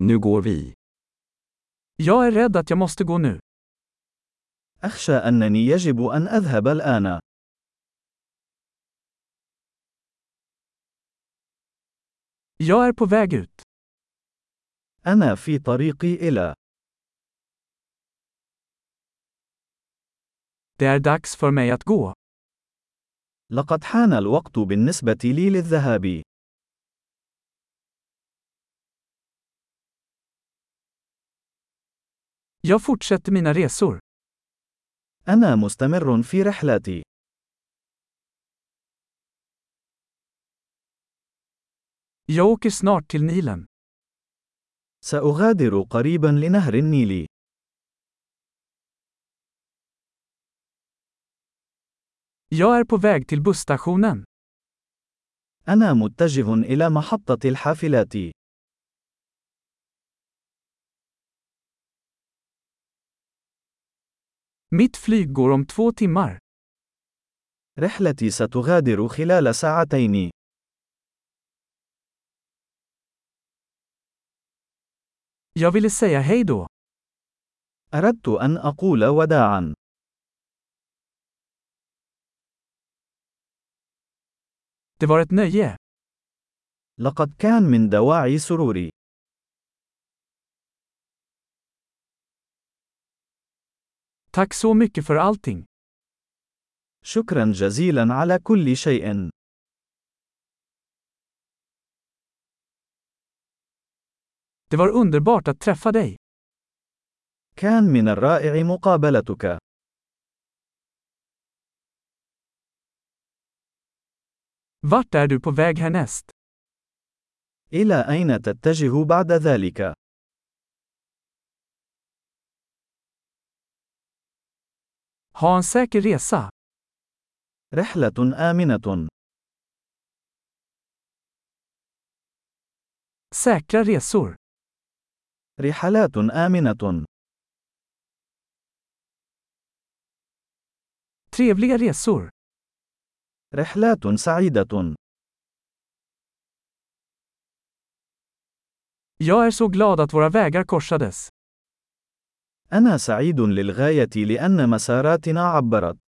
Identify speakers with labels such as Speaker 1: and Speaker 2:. Speaker 1: Nu går vi.
Speaker 2: Jag är rädd att jag måste gå nu.
Speaker 3: أخشى أنني يجب أن أذهب الآن.
Speaker 2: Jag är på väg ut.
Speaker 3: أنا في طريقي إلى.
Speaker 2: Det är dags för mig att gå.
Speaker 3: لقد حان الوقت بالنسبة لي للذهاب.
Speaker 2: Jag fortsätter mina resor.
Speaker 3: أنا مستمر في رحلتي.
Speaker 2: Jag åker snart till Nilen.
Speaker 3: سأغادر قريبا لنهر النيل.
Speaker 2: Jag är på väg till busstationen.
Speaker 3: أنا متجه إلى محطة الحافلات.
Speaker 2: Mitt flyg går om två timmar.
Speaker 3: رحلتي ستغادر خلال ساعتين.
Speaker 2: Jag ville säga hej då.
Speaker 3: أردت أن أقول وداعاً.
Speaker 2: Det var ett nöje.
Speaker 3: لقد كان من دواعي سروري.
Speaker 2: Tack så mycket för allting.
Speaker 3: شكرا جزيلا على كل شيء.
Speaker 2: Det var underbart att träffa dig.
Speaker 3: كان من الرائع مقابلتك.
Speaker 2: Vart är du på väg härnäst?
Speaker 3: إلى أين تتجه بعد ذلك؟
Speaker 2: Ha en säker resa.
Speaker 3: رحلة آمنة.
Speaker 2: Säkra resor.
Speaker 3: رحلات آمنة.
Speaker 2: Trevliga resor.
Speaker 3: رحلات سعيدة.
Speaker 2: Jag är så glad att våra vägar korsades.
Speaker 3: أنا سعيد للغاية لأن مساراتنا عبرت.